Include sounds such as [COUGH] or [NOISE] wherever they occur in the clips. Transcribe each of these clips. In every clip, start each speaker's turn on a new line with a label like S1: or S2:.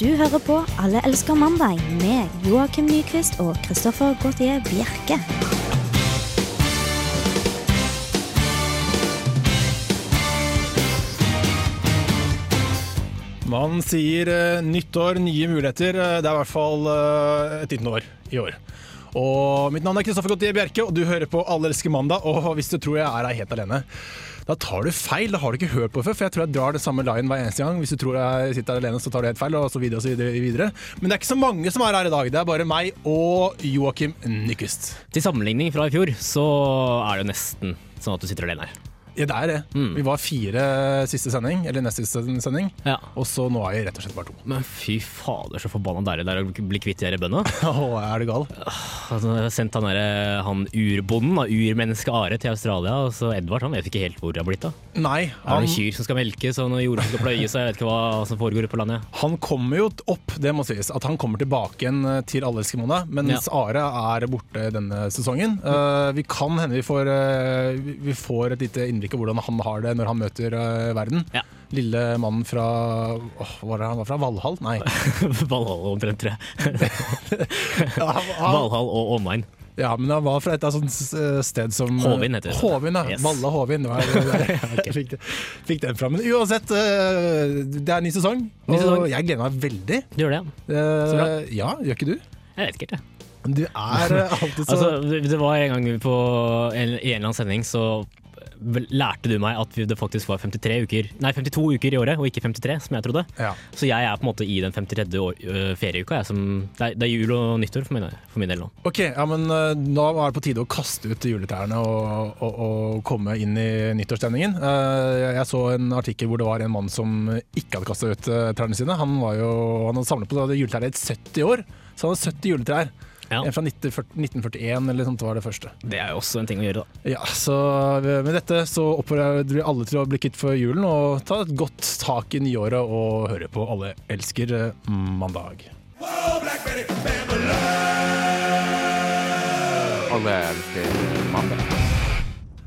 S1: Du hører på Alle elsker mandag med Joakim Nyquist og Christoffer Gautier Bjerke.
S2: Man sier eh, nytt år, nye muligheter. Eh, Det er i hvert fall eh, et nytt år i år. Og mitt navn er Kristoffer Gautier Bjerke, og du hører på Alle elsker mandag. Og [LAUGHS] hvis du tror jeg er her helt alene, da tar du feil. Da har du ikke hørt på det før, for jeg tror jeg drar det samme line hver eneste gang. Hvis du tror jeg sitter her alene, så tar du helt feil, og så videre og så videre. videre. Men det er ikke så mange som er her i dag. Det er bare meg og Joakim Nyquist.
S3: Til sammenligning fra i fjor, så er det jo nesten sånn at du sitter alene her.
S2: Ja, det er det. Vi var fire siste sending, eller nest siste sending.
S3: Ja.
S2: Og så nå er jeg rett og slett bare to.
S3: Men fy fader, så forbanna deilig det er å bli kvitt de her bøndene.
S2: [LAUGHS] Åh, er du gal?
S3: Altså, jeg har sendt han, der, eh, han urbonden, da, urmennesket Are, til Australia. Og så Edvard han vet ikke helt hvor det har blitt av.
S2: Nei.
S3: Er
S2: han-
S3: det kyr som skal melkes og noen jorda som skal pløyes, og jeg vet ikke hva som foregår på landet.
S2: Han kommer jo opp, det må sies, at han kommer tilbake igjen eh, til Allelske måned, mens
S3: Ja.
S2: Are er borte denne sesongen. Eh, vi kan hende vi får, eh, vi- vi får et lite innblikk i hvordan han har det når han møter eh, verden.
S3: Ja.
S2: Lille mannen fra åh, Hva var det han var fra? Valhall?
S3: [LAUGHS]
S2: Nei.
S3: [LAUGHS] Valhall omtrent, tror jeg.
S2: Ja, han- han-
S3: Valhall og omegn.
S2: ja, men han var fra et eller annet sånt eh, sted som
S3: Hovin heter det.
S2: Hovin, ja.
S3: Yes.
S2: Valle Hovin.
S3: [LAUGHS]
S2: Det var, [LAUGHS] jeg fikk, det- fikk den fram. Men uansett, eh, det er ny sesong,
S3: Ny sesong.
S2: og jeg gleder meg veldig.
S3: Du gjør det, ja.
S2: Eh, ja, gjør ikke du?
S3: Jeg vet ikke helt, jeg.
S2: Du er eh, alltid så
S3: Altså, det det var en gang på en, i en eller annen sending, så vel- lærte du meg at vi- det faktisk var 53 uker, nei 52 uker i året, og ikke 53, som jeg trodde.
S2: ja.
S3: Så jeg er på en måte i den 53. År, ø, ferieuka. Jeg, som, det, er, det er jul og nyttår for min, for min del nå.
S2: Ok, ja, men eh, da er det på tide å kaste ut juletrærne og, og, og komme inn i nyttårsstemningen. Eh, jeg- Jeg så en artikkel hvor det var en mann som ikke hadde kastet ut eh, trærne sine. Han, var jo, han hadde samlet på juletrær i 70 år, så han hadde 70 juletrær.
S3: Ja.
S2: En fra 1940 1941 eller sånt var det første.
S3: Det er jo også en ting å gjøre, da.
S2: Ja, så eh, Med dette så oppfordrer vi alle til å bli kvitt for julen og ta et godt tak i nyåret og høre på Alle elsker eh, mandag.
S4: Alle elsker mandag.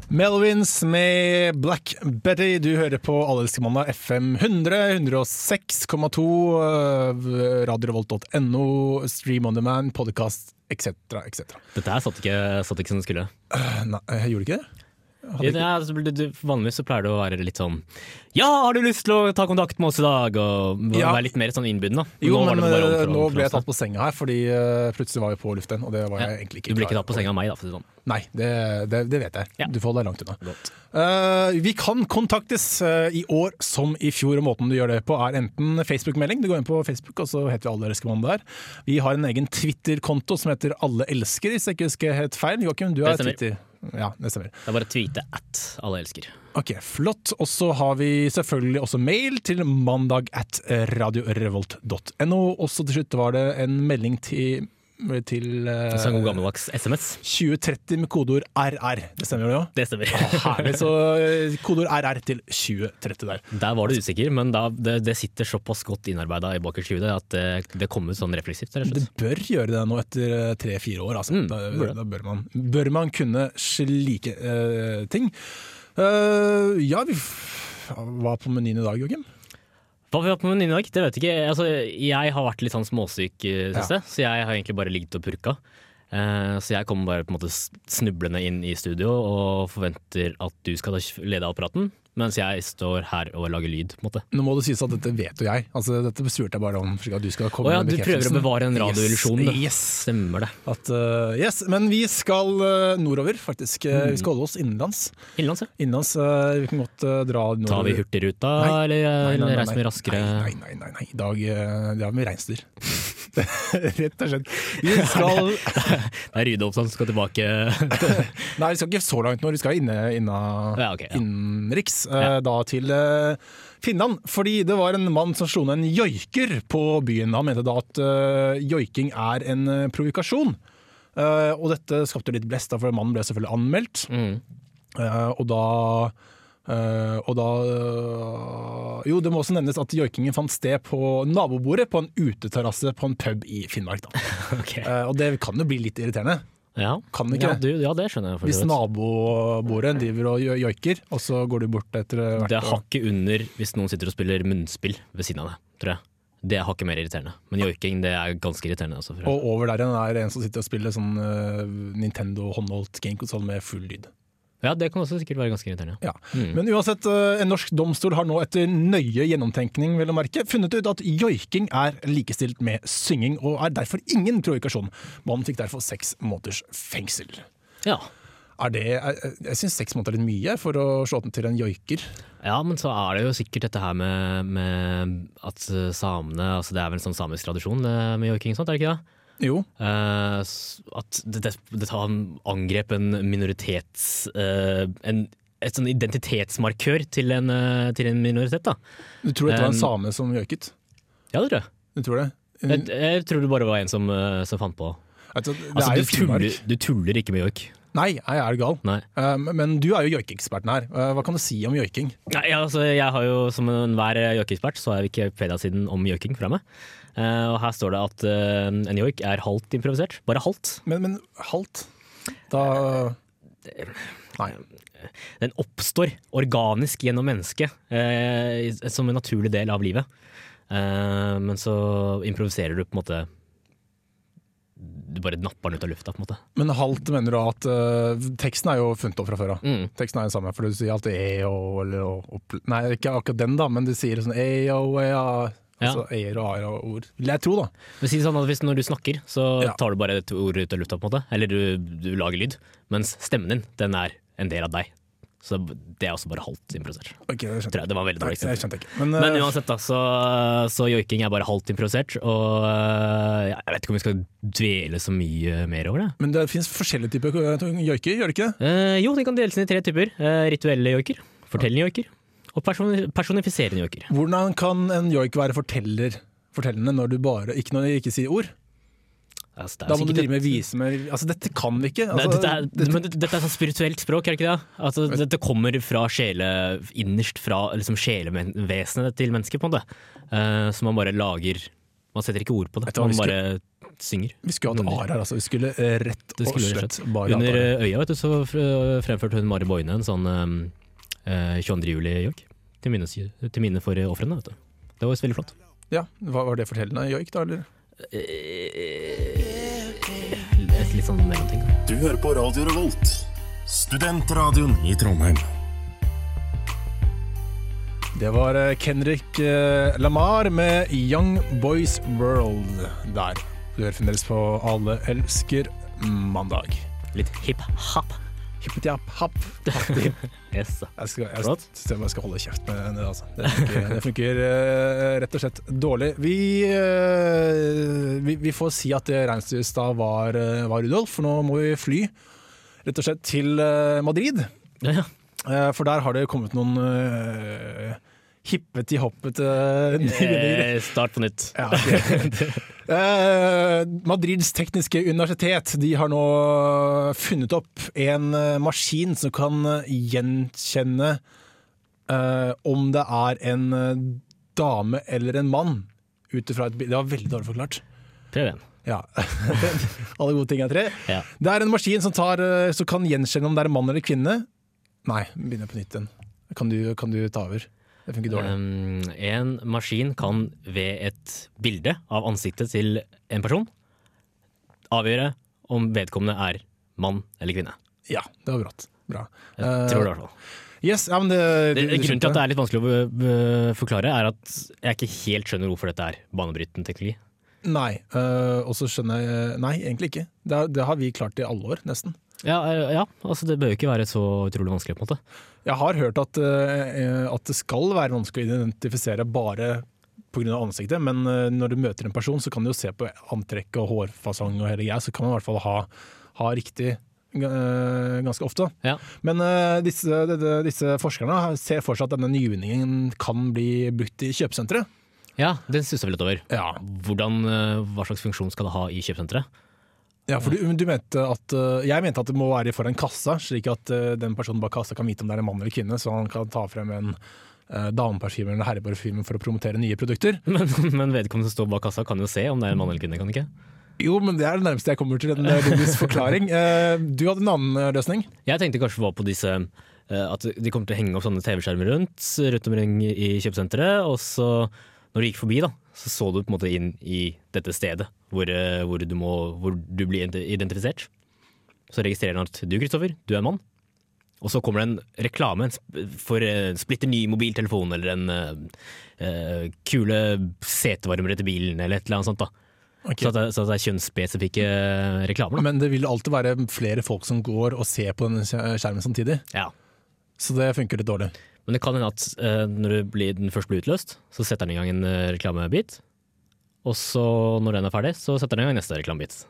S2: Melvins med Black Betty. Du hører på Allelskemandag FM 100, 106,2, eh, radiorevolt.no, Stream on demand, podkast etc. etc.
S3: Dette her satt ikke, satt ikke som det skulle.
S2: Nei, jeg gjorde ikke det?
S3: Ja, altså, du, du, vanligvis så pleier det å være litt sånn Ja, har du lyst til å ta kontakt med oss i dag? Og
S2: Ja.
S3: være litt mer sånn innbydende. da.
S2: Jo,
S3: Nå var
S2: men
S3: det bare overfor-
S2: eh, nå
S3: overfor
S2: ble
S3: oss,
S2: jeg
S3: da.
S2: tatt på senga her, fordi eh, plutselig var vi på luften, og det var jeg egentlig ikke
S3: Du ble ikke
S2: klar
S3: tatt på senga av meg, da. For å si det sånn.
S2: Nei, det, det, det vet jeg.
S3: Ja.
S2: Du får holde deg langt unna.
S3: Godt.
S2: Eh, vi kan kontaktes eh, i år som i fjor, og måten du gjør det på er enten Facebook-melding, du går inn på Facebook, og så heter vi Alle elsker mann der. Vi har en egen Twitter-konto som heter Alle elsker, hvis jeg ikke husker helt feil. Joakim, du
S3: Det
S2: er
S3: stemmer.
S2: Twitter. Ja, det stemmer.
S3: Det er bare å tweete at alle elsker.
S2: Ok, flott. Og så har vi selvfølgelig også mail til mandag at radiorevolt.no. Og så til slutt var det en melding til, til eh,
S3: Så en god gammeldags SMS.
S2: 2030 med kodeord RR. Det stemmer jo?
S3: Det stemmer.
S2: Herlig. Så eh, kodeord RR til 2030 der.
S3: [LAUGHS] Der var du usikker, men da, det, det sitter såpass godt innarbeida i bakerst i hodet at det, det kom ut sånn refleksivt. rett og
S2: Det
S3: slett.
S2: bør gjøre det nå etter tre-fire år. Altså.
S3: Mm,
S2: da,
S3: bør det.
S2: da bør, man, bør man kunne slike eh, ting. Eh, ja, vi f- Hva er på menyen i dag, Joakim?
S3: Hva har vi hatt med menyen i dag? Det vet jeg ikke. Altså, jeg har vært litt sånn småsyk eh, siste, så jeg har egentlig bare ligget og purka. Eh, så jeg kommer bare på en måte s- snublende inn i studio og forventer at du skal da lede av praten, mens jeg står her og lager lyd. på en måte.
S2: Nå må det sies at dette vet jo jeg. Altså, dette spurte jeg bare om slik at du skal komme
S3: Å ja,
S2: med
S3: du prøver å
S2: bekreftelsen.
S3: bevare en radioillusjon. du.
S2: Yes, yes.
S3: Stemmer det.
S2: At, eh, yes. Men vi skal eh, nordover, faktisk. Eh,
S3: Mm.
S2: Vi skal holde oss innenlands.
S3: Innenlands, ja.
S2: Innenlands, eh, Vi kan godt eh, dra nordover.
S3: Tar vi Hurtigruta,
S2: Nei.
S3: eller eh,
S2: Nei, nei, nei, nei.
S3: reiser vi raskere? [LAUGHS]
S2: Nei, nei, nei. nei. I dag eh, drar vi med reinsdyr. [LAUGHS] Rett og slett.
S3: [LAUGHS]
S2: Vi skal
S3: Det er Rydolfsson som skal tilbake.
S2: [LAUGHS] Nei, vi skal ikke så langt nå, vi skal inne, inna,
S3: Ja, ok, ja.
S2: innenriks. eh, Da til eh, Finland. Fordi det var en mann som slo ned en joiker på byen. Han mente da at eh, joiking er en eh, provokasjon. Eh, og dette skapte litt blest, da, for mannen ble selvfølgelig anmeldt.
S3: Mm.
S2: Eh, og da eh, og da eh, Jo, det må også nevnes at joikingen fant sted på nabobordet på en uteterrasse på en pub i Finnmark. Da.
S3: [LAUGHS] Ok.
S2: Eh, og det kan jo bli litt irriterende.
S3: Ja.
S2: Kan det ikke
S3: ja,
S2: det?
S3: du, ja, det skjønner jeg. for
S2: Hvis
S3: så vidt.
S2: nabobordet driver og jo- joiker, og så går du bort etter eh, hvert
S3: Det er
S2: og-
S3: hakket under hvis noen sitter og spiller munnspill ved siden av deg, tror jeg. Det er hakket mer irriterende. Men joiking det er ganske irriterende. Altså, for-
S2: Og over der igjen er det en som sitter og spiller sånn eh, Nintendo håndholdt gamekonsoll med full lyd.
S3: ja, det kan også sikkert være ganske irriterende.
S2: Ja. Men uansett, eh, en norsk domstol har nå etter nøye gjennomtenkning vel å merke, funnet ut at joiking er likestilt med synging, og er derfor ingen provokasjon. Mannen fikk derfor seks måneders fengsel.
S3: Ja.
S2: Er det, eh, jeg jeg syns seks måneder er litt mye for å slå den til en joiker.
S3: ja, men så er det jo sikkert dette her med, med at eh, samene altså Det er vel en sånn samisk tradisjon det med joiking, sant, er det ikke det?
S2: Jo,
S3: Eh, s- at det, det, det tar en angrep en minoritets... eh, en, et sånn identitetsmarkør til en, eh, til en minoritet, da.
S2: du tror dette var en
S3: Um,
S2: same som joiket?
S3: Ja, det tror jeg.
S2: Du tror det?
S3: Jeg, jeg tror det bare var en som, eh, som fant på.
S2: Altså, det
S3: Altså,
S2: er
S3: du,
S2: jo tuller.
S3: tuller, du tuller ikke med joik.
S2: Nei, nei, jeg er gal.
S3: Nei.
S2: Um, men du er jo joikeeksperten her. Uh, hva kan du si om joiking?
S3: Nei, altså, jeg har jo som enhver joikeekspert, så har jeg Wikipedia-siden om joiking fra meg. Eh, og her står det at eh, en joik er halvt improvisert. Bare halvt.
S2: Men, men halvt? Da eh, Nei.
S3: Den oppstår organisk gjennom mennesket, eh, som en naturlig del av livet. Eh, men så improviserer du på en måte Du bare napper den ut av lufta, på en måte.
S2: Men halvt mener du at uh, Teksten er jo funnet opp fra før av.
S3: Mm.
S2: Teksten er den samme, for du sier alltid EO eller og, opp- Nei, ikke akkurat den, da, men du sier sånn EO, EA Altså ER og AR-ord. Vil jeg tro, da.
S3: Men si det sånn at hvis Når du snakker, så
S2: Ja.
S3: tar du bare et ord ut av lufta, på en måte. Eller du, du lager lyd. Mens stemmen din, den er en del av deg. Så det er også bare halvt improvisert.
S2: Ok, det skjønte
S3: Tror jeg. Det var veldig
S2: Nei,
S3: dårlig.
S2: jeg
S3: eksempel.
S2: skjønte ikke. Men,
S3: Men
S2: uh,
S3: uansett, da, så, så joiking er bare halvt improvisert. Og eh, jeg vet ikke om vi skal dvele så mye mer over det.
S2: men det fins forskjellige typer uh, joiker, gjør det ikke? det?
S3: Eh, jo, den kan deles inn i tre typer. Eh, rituelle joiker, fortellende joiker og person personifiserende joiker.
S2: Hvordan kan en joik være forteller, fortellende når du bare ikke, når du ikke sier ord?
S3: Altså, det er
S2: Da
S3: jo
S2: må du
S3: sikkert
S2: drive
S3: et-
S2: med vise med Altså, dette kan vi ikke.
S3: Nei,
S2: Altså,
S3: dette, er, men dette- dette er sånn spirituelt språk, er det ikke det? Altså, dette kommer fra sjele, innerst fra liksom, sjelevesenet til mennesket, på en måte. Eh, så man bare lager Man setter ikke ord på det,
S2: Vet du hva,
S3: man
S2: vi
S3: bare synger.
S2: vi skulle hatt AR her, altså. Vi skulle eh, rett
S3: Mm. Det
S2: og
S3: skulle vi
S2: slett bare hatt
S3: Under
S2: AR.
S3: eh, øya vet du, så fr- eh, fremførte hun Mari Boine en sånn eh, eh, 22. juli-joik. Til, minnes- til minne for eh, ofrene, vet du. Det var veldig flott.
S2: Ja, hva Var det fortellende joik, da? eller?
S3: Et litt sånn mellomting.
S5: Du hører på Radio Revolt, studentradioen i Trondheim.
S2: Det var eh, Kendrick eh, Lamar med Young Boys World der. Du hører fremdeles på Alle elsker mandag.
S3: Litt hip-hop.
S2: Hippetiapp-happ.
S3: [LAUGHS] Yes.
S2: Jeg skal, jeg,
S3: Flott.
S2: jeg, jeg skal holde kjeft med det. Altså. Det funker, det funker eh, rett og slett dårlig. Vi, eh, vi, vi får si at det reinsdyret i stad var, eh, var Rudolf, for nå må vi fly rett og slett til eh, Madrid.
S3: Ja, ja.
S2: Eh, for der har det kommet noen uh, hippeti-hoppete nyheter.
S3: [LAUGHS] Eh, start på nytt.
S2: Ja, ok. Eh, Madrids tekniske universitet De har nå funnet opp en eh, maskin som kan eh, gjenkjenne eh, om det er en eh, dame eller en mann. Ut ifra et bilde. Det var veldig dårlig forklart.
S3: Prøv igjen.
S2: Ja. [LAUGHS] Alle gode ting er tre.
S3: Ja.
S2: Det er en maskin som, tar, eh, som kan gjenkjenne om det er en mann eller kvinne. Nei, begynner på nytt igjen. Kan du, kan du ta over? Det funker dårlig.
S3: Um, en maskin kan ved et bilde av ansiktet til en person avgjøre om vedkommende er mann eller kvinne.
S2: Ja, det var brått. Bra.
S3: Jeg tror det, i hvert fall.
S2: Yes, ja, men det,
S3: Eh, Det,
S2: du- du
S3: grunnen
S2: skjønte.
S3: til at det er litt vanskelig å øh, forklare, er at jeg ikke helt skjønner hvorfor dette er banebrytende teknologi.
S2: Nei, eh, og så skjønner jeg Nei, egentlig ikke. Det, er- det har vi klart i alle år, nesten.
S3: Ja, øh, ja, altså Det bør jo ikke være så utrolig vanskelig. på en måte.
S2: Jeg har hørt at, eh, eh, at det skal være vanskelig å identifisere bare pga. ansiktet, men eh, når du møter en person, så kan du jo se på antrekk og hårfasong og hele greia, så kan man i hvert fall ha, ha riktig eh, ganske ofte.
S3: Ja.
S2: Men eh, disse, de- de- disse forskerne ser for seg at denne nyvinningen kan bli brukt i kjøpesentre.
S3: Ja, den stusser vi litt over.
S2: Ja.
S3: Hvordan, eh, Hva slags funksjon skal det ha i kjøpesenteret? [LAUGHS]
S2: Ja,
S3: Mm.
S2: for du, du mente at eh, Jeg mente at det må være foran kassa, slik at eh, den personen bak kassa kan vite om det er en mann eller kvinne, så han kan ta frem en uh, dameparfyme eller herreparfyme for å promotere nye produkter.
S3: Men, men vedkommende som står bak kassa, kan jo se om det er en mann eller kvinne. kan de ikke?
S2: Jo, men det er det nærmeste jeg kommer til en eh, logisk
S3: [LAUGHS]
S2: forklaring. Eh, du hadde en annen eh, løsning.
S3: Jeg tenkte kanskje var på disse eh, at de kommer til å henge opp sånne TV-skjermer rundt rundt omkring i kjøpesenteret. Og så, når du gikk forbi, da, så så du på en måte inn i dette stedet hvor, eh, hvor, du, må, hvor du blir ident- identifisert. Så registrerer han at du, Kristoffer, du er mann. Og så kommer det en reklame en sp- for eh, splitter ny mobiltelefon eller en eh, eh, kule setevarmere til bilen eller et eller annet sånt. da.
S2: Ok.
S3: Så, at det, så at det er kjønnsspesifikke reklamer. da.
S2: Men det vil alltid være flere folk som går og ser på denne skjermen samtidig,
S3: Ja.
S2: så det funker litt dårlig.
S3: Men det kan hende at eh, når det blir, den først blir utløst, så setter den i gang en eh, reklamebit. Og så, når den er ferdig, så setter den i gang neste reklamebit.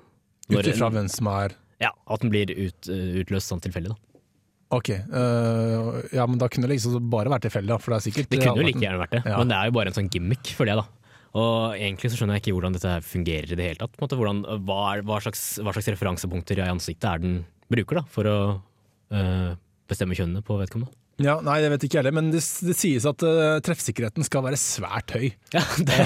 S2: Ut
S3: Når-
S2: ifra hvem som er
S3: Ja, At den blir ut, eh, utløst sånn tilfeldig, da.
S2: Ok, øh, ja, men da kunne det liksom bare vært tilfeldig, da, for det er sikkert
S3: Det kunne jo like gjerne vært det,
S2: Ja.
S3: men det er jo bare en sånn gimmick, føler jeg, da. Og egentlig så skjønner jeg ikke hvordan dette her fungerer i det hele tatt. På en måte, hvordan, hva, er, hva, slags, hva slags referansepunkter i ansiktet er den bruker da, for å eh, bestemme kjønnene på vedkommende?
S2: Ja, nei, jeg vet ikke jeg heller, men det, det sies at øh, treffsikkerheten skal være svært høy.
S3: Ja, [LAUGHS] det,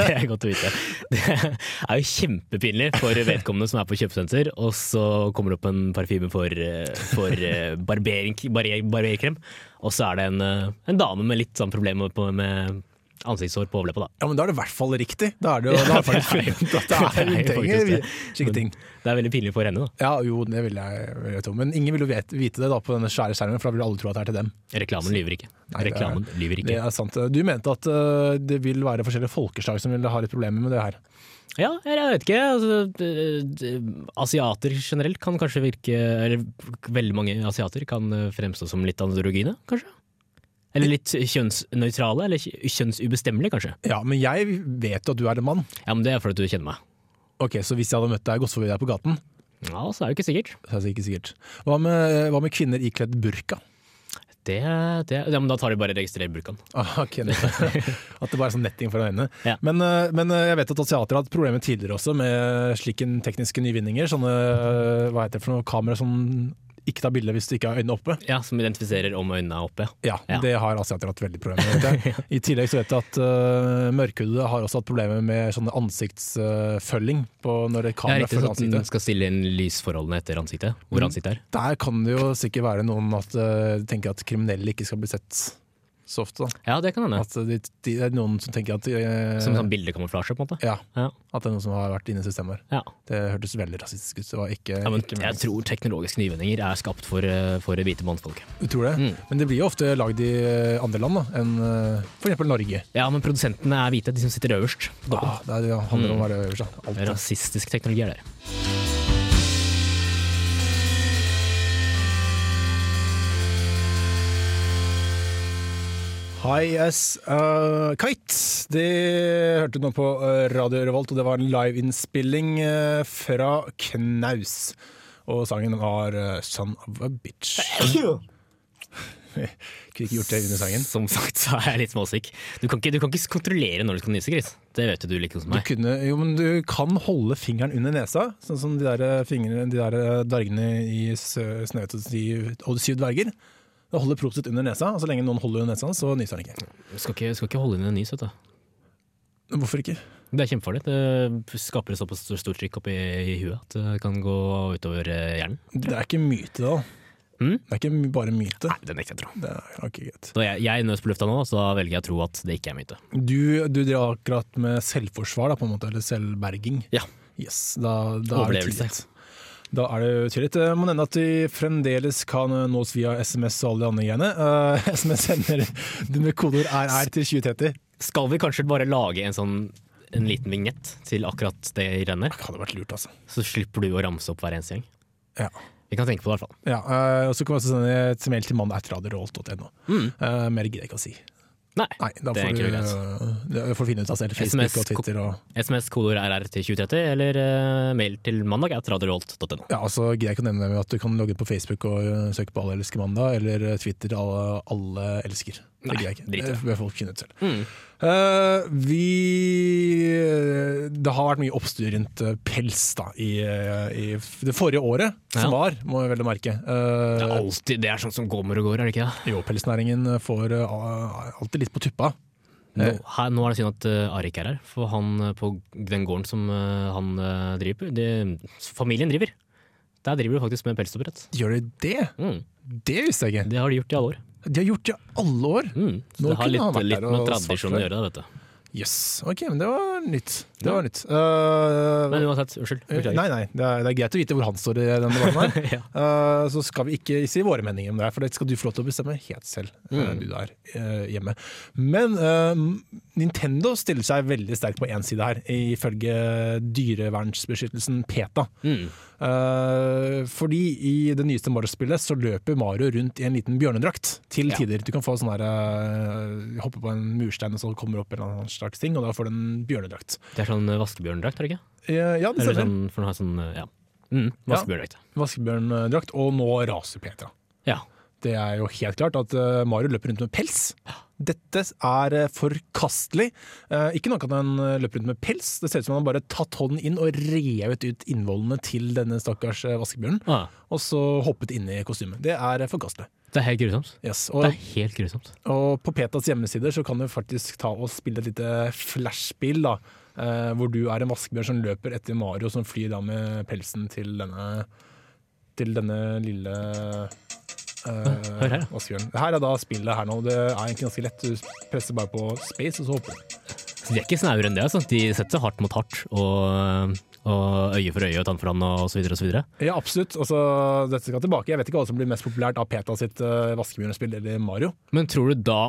S3: det er godt å vite. Det er jo kjempepinlig for vedkommende som er på kjøpesenter, og så kommer det opp en parfyme for, eh, for eh, barbering, barber, barberkrem, og så er det en, eh, en dame med litt sånn problemer på- med ansiktshår på overleppa, da.
S2: Ja, men da er det i hvert fall riktig. Da er [LAUGHS] det jo da har jeg
S3: det er jo-
S2: faktisk funnet at det er
S3: [LAUGHS] det er jo faktisk det.
S2: utenger. Slike ting.
S3: Det er veldig pinlig for henne, da.
S2: Ja, jo, det vil jeg, vil jeg tro. Men ingen vil jo vet- vite det da på denne svære skjermen, for da vil alle tro at det er til dem.
S3: Reklamen lyver ikke.
S2: Nei, det er-
S3: Reklamen lyver
S2: Det
S3: ikke.
S2: er sant. Du mente at øh, det vil være forskjellige folkeslag som vil ha litt problemer med det her.
S3: Ja, eller jeg vet ikke. Altså, d- d- asiater generelt kan kanskje virke Eller veldig mange asiater kan eh, fremstå som litt androgyne, kanskje? Eller litt kjønnsnøytrale, eller kj- kjønnsubestemmelige, kanskje.
S2: Ja, men jeg vet jo at du er en mann.
S3: Ja, men Det er fordi du kjenner meg.
S2: Ok, Så hvis jeg hadde møtt deg, gått forbi deg på gaten,
S3: Ja, så er det jo ikke sikkert.
S2: så er det ikke sikkert. Hva med, hva med kvinner ikledd burka?
S3: Det, det, ja, men Da tar de bare og registrerer burkaen.
S2: Ah, ok, det- [LAUGHS] at det bare er sånn netting foran øynene.
S3: Ja.
S2: Men, eh, men eh, jeg vet at asiater har hatt problemer tidligere også med slike tekniske nyvinninger. Sånne eh, hva heter det for noe, kamera som ikke tar bilde hvis du ikke har øynene oppe.
S3: Ja, Som identifiserer om øynene er oppe. ja.
S2: Ja, Det har asiater hatt veldig problemer med.
S3: [LAUGHS]
S2: vet jeg. I tillegg så vet jeg at uh, mørkhudede har også hatt problemer med sånne ansiktsfølging på når
S3: Ja,
S2: kameraet
S3: riktig
S2: følger
S3: sånn at den
S2: ansiktet. Mhm.
S3: skal stille inn lysforholdene etter ansiktet. Hvor ansiktet er.
S2: Der kan det jo sikkert være noen at eh, tenker at kriminelle ikke skal bli sett så ofte. Da.
S3: Ja, det kan hende.
S2: At de, de, det er noen som tenker at eh,
S3: Som sånn bildekamuflasje, på en måte.
S2: ja,
S3: Ja,
S2: At det er noen som har vært inne i systemet her.
S3: ja.
S2: Det hørtes veldig rasistisk ut. Det var ikke,
S3: Ja, men
S2: ikke
S3: jeg tror teknologiske nyvinninger er skapt for, eh, for hvite mannsfolk.
S2: Du tror det?
S3: Mm.
S2: Men det blir jo ofte lagd i eh, andre land da, enn eh, for eksempel Norge.
S3: Ja, men produsentene er hvite, de som sitter øverst. på toppen.
S2: Ah, det er- det handler om å være øverst. da. Alt,
S3: Mm. Det er
S2: det.
S3: Rasistisk teknologi er der.
S2: High as a eh, kite. Det hørte du nå på eh, Radio Revolt, og det var en liveinnspilling eh, fra Knaus. Og sangen var eh, 'Son of a Bitch'. [LAUGHS] Kunne ikke gjort det under sangen.
S3: Som sagt så er jeg litt småsyk. Du kan ikke, du kan ikke kontrollere når du skal nyse, Chris. Det vet jo du like godt som
S2: Du,
S3: meg.
S2: kunne, jo, men du kan holde fingeren under nesa, sånn som de der, fingrene, de der dvergene i Sø- Snøhvit og de- og de syv dverger. Da holder Prosit under nesa, og så lenge noen holder under nesa, så nyser han ikke.
S3: Du skal ikke, skal ikke holde inn en nys, vet du.
S2: Hvorfor ikke?
S3: Det er kjempefarlig. Det skaper et såpass stort trykk oppi i huet at det kan gå utover eh, hjernen.
S2: Det er ikke myte, da.
S3: Mm?
S2: Det er ikke my- bare myte.
S3: Nei, det nekter jeg å tro.
S2: Det er ok, greit.
S3: Så jeg, jeg er nøs på lufta nå, så da velger jeg å tro at det ikke er myte.
S2: Du, du driver akkurat med selvforsvar, da, på en måte, eller selvberging.
S3: Ja.
S2: Yes, da, da er det
S3: Overlevelse.
S2: tillit. Da er det tillit. Jeg må nevne at vi fremdeles kan nås via SMS og alle de andre greiene. Eh, [LAUGHS] SMS sender du med kodeord RR til 2030.
S3: Skal vi kanskje bare lage en sånn en liten vignett til akkurat det rennet?
S2: Det hadde vært lurt, altså.
S3: Så slipper du å ramse opp hver eneste gang.
S2: Ja.
S3: Vi kan tenke på det i hvert fall.
S2: Ja, eh, og så kan vi også sende et mail til mannen etter radiorolt.no.
S3: Mm.
S2: Eh, mer gidder jeg ikke å si.
S3: Nei.
S2: Nei, da
S3: Det er
S2: får du
S3: egentlig
S2: eh, det får du finne ut av selv. Facebook
S3: SMS
S2: og Twitter og
S3: SMS kodeord RR til 2030 eller eh, mail til mandag at radiorolt.no.
S2: Ja, og så gidder jeg ikke å nevne det med at du kan logge inn på Facebook og eh, søke på Alle elsker mandag, eller øh, Twitter alle, alle elsker. Det
S3: Nei,
S2: gidder jeg ikke.
S3: drit i
S2: Det
S3: det. Mm.
S2: bør folk finne ut selv. Eh, vi Det har vært mye oppstyr rundt eh, pels da, i, eh, i f- det forrige året, som
S3: Ja.
S2: var, må jeg vel merke. Eh,
S3: Det er alltid det er sånn som kommer og går, er det ikke det?
S2: jo, pelsnæringen får eh, alltid litt på tuppa.
S3: Nå,
S2: Eh.
S3: her, nå er det synd at uh, Ari ikke er her, for han eh, på den gården som eh, han eh, driver på, det, familien driver, der driver du faktisk med pelsoppdrett.
S2: Gjør de det?
S3: Mm.
S2: Det visste jeg ikke.
S3: Det har de gjort i alle år.
S2: De har gjort det i alle år.
S3: Mm.
S2: Nå
S3: Så det
S2: kunne
S3: har
S2: han
S3: litt,
S2: vært der
S3: litt
S2: og
S3: med
S2: svart
S3: tradisjon
S2: for.
S3: å gjøre, det, vet du.
S2: Yes. Ok, men det var nytt. Det var nytt. Eh,
S3: Men uansett, unnskyld.
S2: eh,
S3: Beklager.
S2: nei, nei, det er, det er greit å vite hvor han står i den debatten her.
S3: [LAUGHS] ja.
S2: Eh, så skal vi ikke si våre meninger om det, her, for det skal du få lov til å bestemme helt selv. eh,
S3: Mm.
S2: Du der eh, hjemme. Men eh, Nintendo stiller seg veldig sterkt på én side her, ifølge dyrevernsbeskyttelsen PETA.
S3: Mm.
S2: Eh, fordi i det nyeste Mario-spillet så løper Mario rundt i en liten bjørnedrakt til
S3: Ja.
S2: tider. Du kan få sånn her eh, Hoppe på en murstein, og så kommer det opp en eller annen slags ting, og da får du en bjørnedrakt.
S3: Det er sånn eh, vaskebjørndrakt, er det ikke?
S2: Eh, ja, det
S3: Eller
S2: stemmer.
S3: sånn, for den har sånn, eh, ja. Mm, vaskebjørndrakt.
S2: Vaskebjørndrakt, og nå raser Petra.
S3: Ja.
S2: Det er jo helt klart at eh, Mario løper rundt med pels. Dette er eh, forkastelig. Eh, ikke nok at han eh, løper rundt med pels, det ser ut som han har bare tatt hånden inn og revet ut innvollene til denne stakkars eh, vaskebjørnen,
S3: Ah,
S2: og så hoppet inn i kostymet. Det er eh, forkastelig.
S3: det er helt grusomt.
S2: Yes.
S3: Det
S2: Og,
S3: er helt grusomt.
S2: og på Petas hjemmesider så kan du faktisk ta og spille et lite flashspill, da. eh, hvor du er en vaskebjørn som løper etter Mario, som flyr da med pelsen til denne, til denne lille eh,
S3: Hør her, ja.
S2: vaskebjørnen. Det her er da spillet her nå. Det er egentlig ganske lett. Du presser bare på space, og så hopper du.
S3: Så de er ikke snauere enn det. Altså. De setter hardt mot hardt, og, og øye for øye og tann for tann og så videre og så videre.
S2: Ja, absolutt. Altså, dette skal tilbake. Jeg vet ikke hva som blir mest populært av Peta sitt eh, vaskebjørnspill eller Mario.
S3: Men tror du da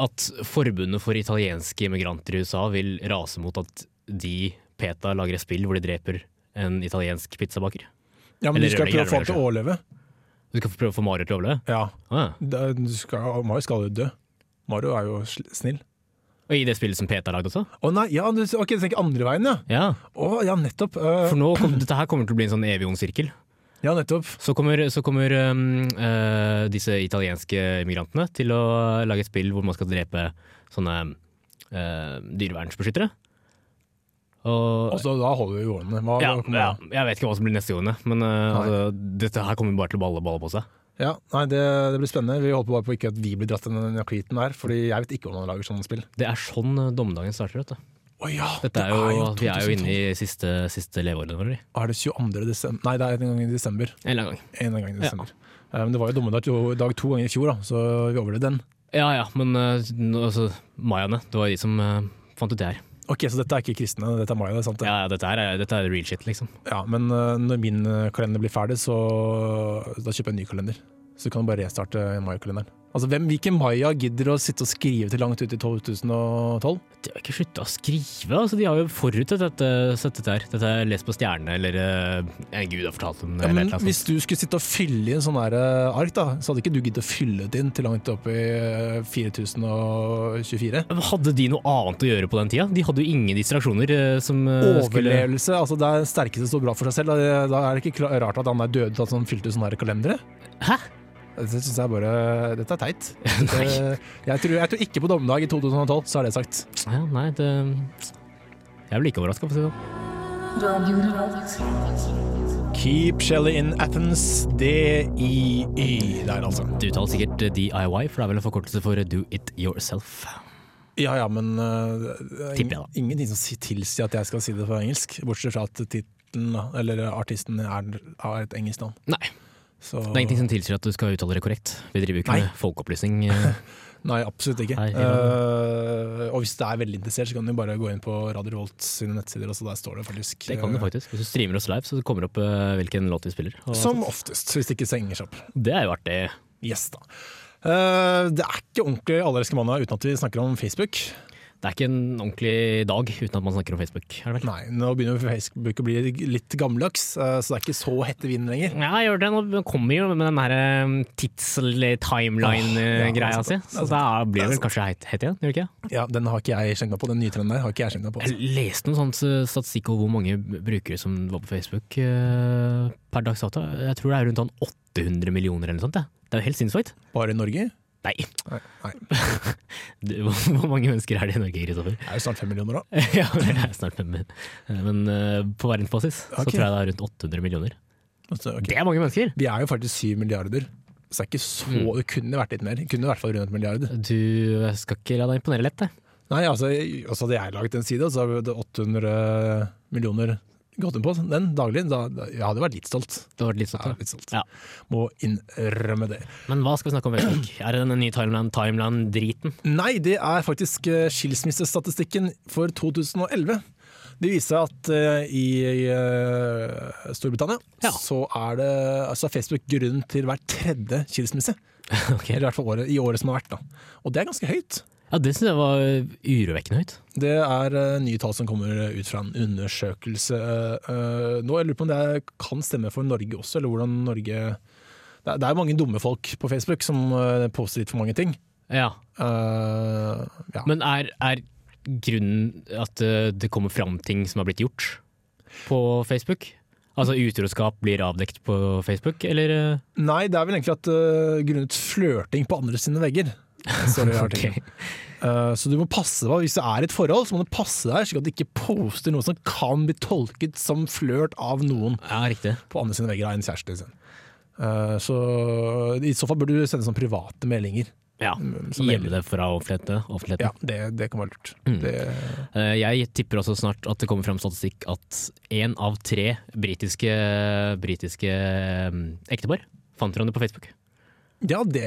S3: at forbundet for italienske immigranter i USA vil rase mot at de, PETA, lager et spill hvor de dreper en italiensk pizzabaker?
S2: Ja, men
S3: Eller
S2: du skal prøve
S3: rødlegger,
S2: å få
S3: rødlegger,
S2: han til å overleve.
S3: Du skal prøve å få Mario til å overleve?
S2: Ja.
S3: Ah.
S2: Da- du skal, Mario skal jo dø. Mario er jo sl- snill.
S3: Og i det spillet som PETA har lagd også?
S2: Å nei, ja, du, ok, du tenker andre veien, ja.
S3: Ja.
S2: Å, ja, nettopp. eh,
S3: For nå kom, dette her kommer til å bli en sånn evig ond sirkel.
S2: ja, nettopp.
S3: Så kommer, så kommer um, eh, disse italienske immigrantene til å lage et spill hvor man skal drepe sånne uh, dyrevernsbeskyttere. Og,
S2: Og så da holder vi i årene. Hva,
S3: ja,
S2: hva kommer
S3: ja,
S2: da?
S3: jeg vet ikke hva som blir neste gang, men eh,
S2: Nei.
S3: altså, dette her kommer bare til å balle balle på seg.
S2: ja, nei, det, det blir spennende. Vi håper bare på ikke at vi blir dratt i den akviten der, fordi jeg vet ikke hvordan man lager sånne spill.
S3: Det er sånn eh, dommedagen starter. Vet du.
S2: Å ja,
S3: Dette er jo, vi er jo inne
S2: 2012.
S3: i siste, siste leveårene våre. vi.
S2: Er det 22. desember? Nei, det er en gang i desember.
S3: En eller annen gang.
S2: En gang i desember. Eh, Men det var jo dommedag to- dag to ganger i fjor, da, så vi overlevde den.
S3: Ja ja, men eh, nå- altså, mayaene, det var jo de som eh, fant ut det her.
S2: Ok, Så dette er ikke kristne, dette er maya, det er sant? det?
S3: Ja, ja, dette, her er, dette er real shit, liksom.
S2: Ja, Men eh, når min eh, kalender blir ferdig, så da kjøper jeg en ny kalender. Så kan du bare restarte mayakalenderen. Altså, hvem, Hvilken maya gidder å sitte og skrive til langt ut i 2012?
S3: De har ikke slutta å skrive. altså De har jo forutsett dette, sett dette her. Dette er lest på stjernene, eller eh, en gud har fortalt dem det,
S2: Ja,
S3: eller
S2: men
S3: et eller annet.
S2: hvis du skulle sitte og fylle i en sånn der eh, ark, da, så hadde ikke du giddet å fylle det inn til langt opp i eh, 4024?
S3: sånt. Hadde de noe annet å gjøre på den tida? De hadde jo ingen distraksjoner eh, som eh, skulle
S2: Overlevelse, altså det er den sterkeste som står bra for seg selv. Da, da er det ikke kla- rart at han er døde at han fylte ut sånne her kalendere.
S3: Hæ?
S2: Dette synes jeg bare Dette er
S3: [LAUGHS]
S2: teit. Dette- jeg, tror, jeg tror ikke på dommedag i 2012, så er det sagt.
S3: Ja, nei, det Jeg blir ikke overraska, for å si det sånn.
S6: Radio Revolt.
S2: Keep Shelly in Athens, DIY der, altså.
S3: Du uttaler sikkert eh, DIY, for det er vel en forkortelse for eh, do it yourself.
S2: Ja ja, men eh, det er
S3: Tipper jeg, da.
S2: ingenting som si- tilsier at jeg skal si det på engelsk. Bortsett fra at tittelen, da, eller artisten, er, har et engelsk navn.
S3: Nei, det
S2: Så
S3: er ingenting som tilsier at du skal uttale det korrekt. Vi driver jo ikke
S2: Nei.
S3: med folkeopplysning.
S2: [LAUGHS]
S3: eh.
S2: Nei, absolutt ikke.
S3: Nei, helt
S2: Eh, og hvis du er veldig interessert, så kan du bare gå inn på Radio Revolt sine nettsider, og så der står det faktisk
S3: Det kan du
S2: eh,
S3: faktisk. Hvis du streamer oss live, så kommer det opp eh, hvilken låt vi spiller. Og,
S2: Som oftest, hvis det ikke stenger seg opp.
S3: Det er jo artig.
S2: Yes, da. Eh, det er ikke ordentlig Allerske mandag uten at vi snakker om Facebook.
S3: Det er ikke en ordentlig dag uten at man snakker om Facebook. Er det vel?
S2: Nei, Nå begynner jo Facebook å bli litt gammeldags, eh, så det er ikke så hette vinden lenger.
S3: Ja, jeg gjør det. Nå kommer jo med den her eh, tids- eller
S2: Åh, ja, det
S3: timeline-greia
S2: er
S3: si.
S2: sant.
S3: Så da blir det vel kanskje het, het igjen, gjør det ikke?
S2: Ja, Den har ikke jeg skjenka på, den nye trenden der. har ikke jeg skjenka på. altså.
S3: Jeg leste noen sånn statistikk over hvor mange brukere som var på Facebook eh, per dags dato. Jeg tror det er rundt sånn 800 millioner eller noe sånt. jeg. Det er jo helt sinnssykt.
S2: Bare i Norge?
S3: Nei,
S2: Nei.
S3: [LAUGHS]
S2: nei.
S3: det, hvor, hvor mange mennesker er det i Norge,
S2: [LAUGHS]
S3: Kristoffer?
S2: Det er jo snart fem millioner, da.
S3: ja, det er snart fem. Men, men eh, på verdensbasis så
S2: Ok.
S3: tror jeg det er rundt 800 millioner.
S2: Så, ok.
S3: Det er mange mennesker!
S2: Vi er jo faktisk syv milliarder, så det er ikke så
S3: Mm.
S2: Det kunne vært litt mer. Det kunne i hvert fall rundt milliard.
S3: Du skal ikke la deg imponere lett, det.
S2: Nei, altså, og så hadde jeg laget en side, og så hadde det 800 millioner gått inn på den daglig, da, da, jeg hadde vært litt stolt.
S3: Det var litt sånn,
S2: Jeg hadde
S3: da.
S2: vært litt stolt.
S3: Ja.
S2: Må innrømme det.
S3: Men hva skal vi snakke om i [CLEARS THROAT] dag? Er det denne nye Timeland- Timeland-driten?
S2: Nei, det er faktisk eh, skilsmissestatistikken for 2011. Det viser at eh, i eh, Storbritannia
S3: Ja.
S2: så er det altså er Facebook grunnen til hver tredje skilsmisse.
S3: [LAUGHS] Ok.
S2: Eller i hvert fall året, i året som har vært. da. Og det er ganske høyt.
S3: Ja, det syns jeg var urovekkende høyt.
S2: Det er eh, nye tall som kommer ut fra en undersøkelse eh, nå. Jeg lurer på om det er, kan stemme for Norge også, eller hvordan Norge Det er, det er mange dumme folk på Facebook som eh, poster litt for mange ting.
S3: Ja,
S2: Eh, ja.
S3: Men er, er grunnen at eh, det kommer fram ting som har blitt gjort på Facebook? Altså utroskap blir avdekt på Facebook, eller? eh?
S2: Nei, det er vel egentlig at øh, grunnet flørting på andre sine vegger. står det i artikkelen.
S3: Ok.
S2: Eh, så du må passe deg, hvis det er et forhold, så må du passe deg slik at du ikke poster noe som kan bli tolket som flørt av noen
S3: Ja, riktig.
S2: på andre sine vegger av en kjæreste. Liksom. Eh, så i så fall burde du sende sånne private meldinger.
S3: Ja,
S2: som
S3: Gjemme det fra offentlighet- offentligheten.
S2: Ja, Det, det kan være lurt. Det,
S3: Eh, Jeg tipper også snart at det kommer fram statistikk at én av tre britiske, britiske mm, ektepar fant hverandre på Facebook.
S2: ja, det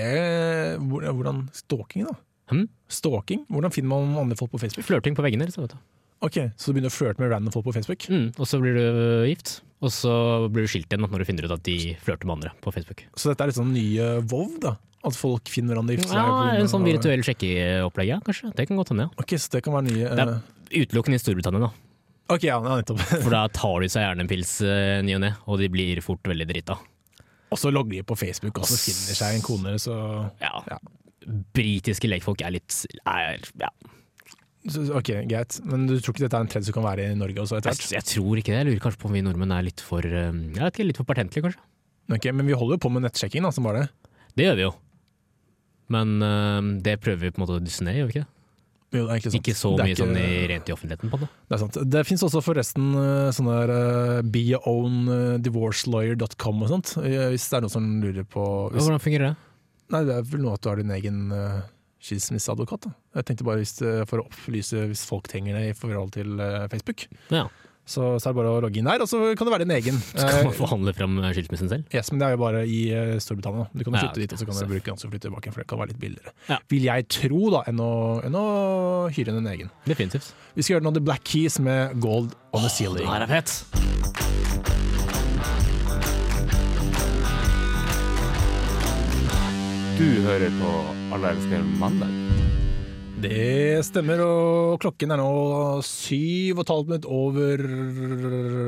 S2: hvor- Hvordan Stalking, da?
S3: Hm?
S2: Stalking? Hvordan finner man andre folk på Facebook?
S3: Flørting på veggene, liksom. Vet du.
S2: Ok, Så du begynner å flørte med random folk på Facebook?
S3: Mm, og så blir du gift, og så blir du skilt igjen når du finner ut at de flørter med andre på Facebook.
S2: Så dette er litt sånn nye WoW, da? At folk finner hverandre i
S3: Ja, En sånn virtuell sjekkeopplegg, ja, kanskje. Det kan godt hende. ja.
S2: Ok, så det kan være nye
S3: Det er
S2: eh,
S3: utelukkende i Storbritannia,
S2: [LAUGHS]
S3: da.
S2: Ok, ja, ja, nettopp. [LAUGHS]
S3: For da tar de seg gjerne en pils eh, ny og ne, og de blir fort veldig drita.
S2: Og så logger de på Facebook, og så finner de seg en kone, så,
S3: Ja.
S2: Ja.
S3: Britiske lekfolk er litt er, ja.
S2: så så- Ok, greit. Men du tror ikke dette er en trend som kan være i Norge også etter
S3: jeg,
S2: hvert?
S3: jeg tror ikke det. Jeg lurer kanskje på om vi nordmenn er litt for eh, Jeg vet ikke, litt for pertentlige, kanskje.
S2: Ok, men vi holder jo på med nettsjekking, da, som bare det.
S3: Det gjør vi jo. Men eh, det prøver vi på en måte å dysse ned, gjør vi ikke? det?
S2: Jo, det er sant.
S3: Ikke så
S2: Det er
S3: mye sånn i,
S2: ikke-
S3: rent i offentligheten på det.
S2: Det er sant. Det fins også forresten eh, sånne der eh, beyourowndivorcelawyer.com og sånt, eh, hvis det er noen som lurer på hvis,
S3: Hvordan fungerer det?
S2: Nei, det er vel noe at du har din egen eh, skilsmisseadvokat, da. Jeg tenkte bare hvis, det- for å opplyse hvis folk trenger det i forhold til eh, Facebook.
S3: Ja,
S2: Så, så er det bare å logge inn der, og så kan det være din
S3: [LAUGHS]
S2: egen.
S3: Så kan man
S2: Eh,
S3: forhandle fram skilsmissen selv.
S2: yes, men det er jo bare i eh, Storbritannia. Du kan jo
S3: Ja,
S2: flytte dit, og så kan
S3: så-
S2: du bruke den, og så flytte tilbake, for det kan være litt billigere.
S3: Ja.
S2: Vil jeg tro, da, enn å, enn å hyre en egen.
S3: Definitivt.
S2: Vi skal gjøre noe The Black Keys med Gold on the Ceiling.
S3: er fett!
S4: Du hører på Alle elsker mandag.
S2: Det stemmer, og klokken er nå syv og et halvt minutt over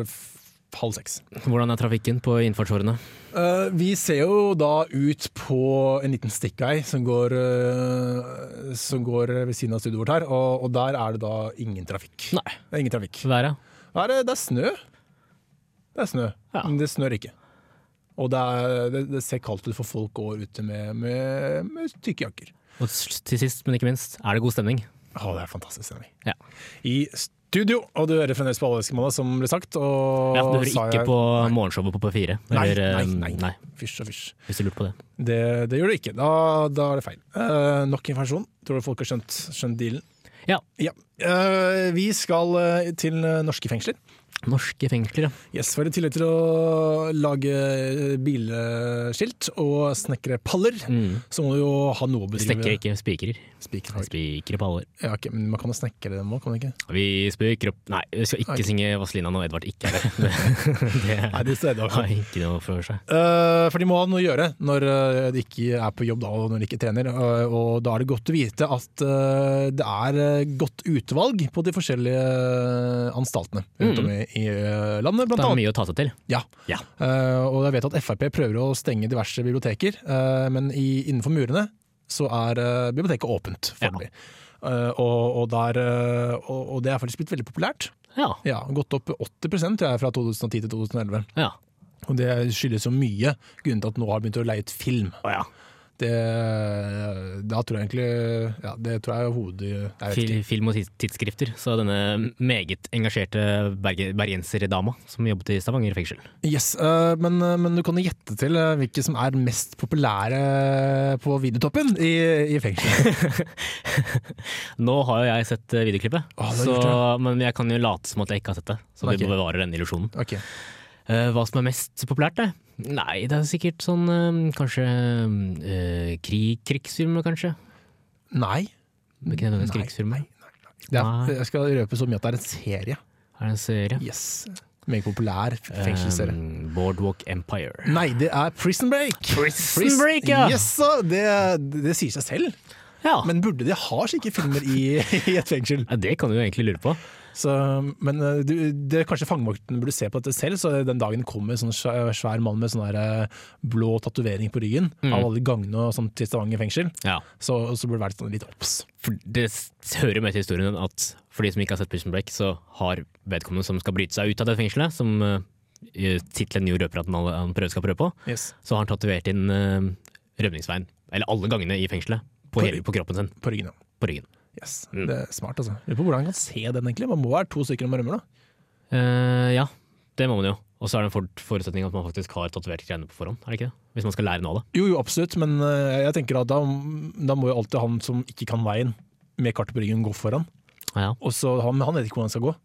S2: f- halv seks.
S3: Hvordan er trafikken på innfartsårene?
S2: Eh, vi ser jo da ut på en liten stikkvei som går, eh, som går ved siden av studioet vårt her, og, og der er det da ingen trafikk.
S3: Nei.
S2: Det er ingen trafikk.
S3: Været?
S2: Da er det, det er snø. Det er snø,
S3: Ja.
S2: men det snør ikke. Og det, er, det, det ser kaldt ut for folk går ute med, med, med tykke jakker.
S3: Og s- til sist, men ikke minst, er det god stemning?
S2: Å, det er fantastisk stemning.
S3: Ja.
S2: I studio, og du hører fremdeles på Allelskemandag, som ble sagt. Og
S3: ja du hører
S2: sa
S3: ikke
S2: jeg-
S3: på morgenshowet på P4?
S2: Nei,
S3: eller,
S2: nei,
S3: eh,
S2: nei. Fysj og fysj.
S3: Hvis du lurte på det.
S2: Det, det gjør det ikke. Da, da er det feil. Eh, nok informasjon. Tror du folk har skjønt, skjønt dealen?
S3: Ja.
S2: Ja. Eh, vi skal eh, til eh, norske fengsler.
S3: Norske fengsler, ja.
S2: Yes, for I tillegg til å lage eh, bilskilt og snekre paller,
S3: Mm.
S2: så må du jo ha noe å bedrive
S3: Snekker ikke, spikrer.
S2: Spiker.
S3: Spikrer på alvor.
S2: Ja, ok, men man kan jo snekre dem òg, kan man ikke?
S3: Vi spikrer opp Nei, vi skal ikke
S2: Ok.
S3: synge Vazelina når Edvard
S2: [LAUGHS]
S3: ikke er der. det
S2: Nei, det sånn. ser jeg da.
S3: har ikke noe for seg.
S2: Eh, for de må ha noe å gjøre når eh, de ikke er på jobb da, og når de ikke trener. Eh, og da er det godt å vite at eh, det er eh, godt utvalg på de forskjellige anstaltene rundt om i, i eh, landet,
S3: Mm. Det
S2: blant
S3: er
S2: annet.
S3: mye å ta seg til.
S2: Ja.
S3: Ja.
S2: Eh, og jeg vet at Frp prøver å stenge diverse biblioteker, eh, men i, innenfor murene så er eh, biblioteket åpent
S3: Ja.
S2: foreløpig. Eh, og, og, der, eh, og, og det er faktisk blitt veldig populært.
S3: Ja.
S2: Ja, Gått opp 80 tror jeg, fra 2010 til 2011.
S3: ja.
S2: Og det skyldes jo mye grunnen til at nå har begynt å leie ut film.
S3: Å ja.
S2: Det, da tror jeg egentlig ja, Det tror jeg er hovedet Jeg vet
S3: Fil,
S2: ikke.
S3: film og tids- tidsskrifter. Så denne meget engasjerte berge, bergenserdama som jobbet i Stavanger fengsel.
S2: Yes, eh, men, men du kan jo gjette til eh, hvilke som er mest populære på videotoppen i, i
S3: [LAUGHS]
S2: fengselet.
S3: Nå har jo jeg sett eh, videoklippet,
S2: Å, du har
S3: så,
S2: gjort
S3: men jeg kan jo late som at jeg ikke har sett det. Så vi
S2: Ok.
S3: bevarer denne illusjonen.
S2: Ok.
S3: Eh, hva som er mest populært, det? Nei, det er sikkert sånn eh, kanskje eh, krig, krigsfilmer, kanskje.
S2: Nei.
S3: Men ikke nødvendigvis
S2: Nei,
S3: krigsfilmer.
S2: Det er,
S3: Nei.
S2: jeg skal røpe så mye at det er en serie.
S3: Er det en serie?
S2: Yes. Meget populær fengselsserie.
S3: Eh, Boardwalk Empire.
S2: Nei, det er Prison Break. Prison
S3: Break, ja. Ah.
S2: Yes, så det, det sier seg selv.
S3: Ja,
S2: Men burde de ha slike filmer i, [LAUGHS] i et fengsel?
S3: Ja, det kan du jo egentlig lure på.
S2: Så, men eh, du, det, kanskje fangemakten burde se på dette selv, så den dagen det kommer en sånn svær svær mann med sånn der eh, blå tatovering på ryggen av alle gangene og sånn til Stavanger fengsel,
S3: Ja.
S2: så, så burde det vært sånn litt obs.
S3: For det s- hører med til historien at for de som ikke har sett Prison Break, så har vedkommende som skal bryte seg ut av det fengselet, som uh, tittelen jo røper at han, alle- han prøver skal prøve på,
S2: Yes.
S3: så har han tatovert inn eh, rømningsveien, eller alle gangene i fengselet, på,
S2: På
S3: hele, på kroppen sin,
S2: På ryggen, ja.
S3: på ryggen.
S2: Yes. Det er smart, altså. Lurer på hvordan han kan se den, egentlig. Man må være to stykker når man rømmer, da.
S3: Eh, ja, det må man jo. Og så er det en for forutsetning at man faktisk har tatovert greiene på forhånd, er det ikke det? Hvis man skal lære noe av det.
S2: Jo, jo, absolutt, men eh, jeg tenker at da, da må jo alltid han som ikke kan veien, med kartet på ryggen, gå foran.
S3: Ja,
S2: Og så han, han vet ikke hvor han skal gå.